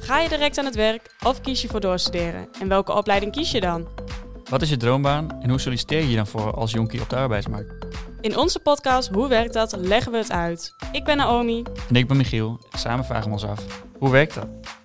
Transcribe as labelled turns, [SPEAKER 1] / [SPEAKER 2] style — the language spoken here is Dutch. [SPEAKER 1] Ga je direct aan het werk of kies je voor doorstuderen? En welke opleiding kies je dan?
[SPEAKER 2] Wat is je droombaan en hoe solliciteer je je dan voor als jonkie op de arbeidsmarkt?
[SPEAKER 1] In onze podcast Hoe werkt dat? leggen we het uit. Ik ben Naomi.
[SPEAKER 2] En ik ben Michiel. Samen vragen we ons af, hoe werkt dat?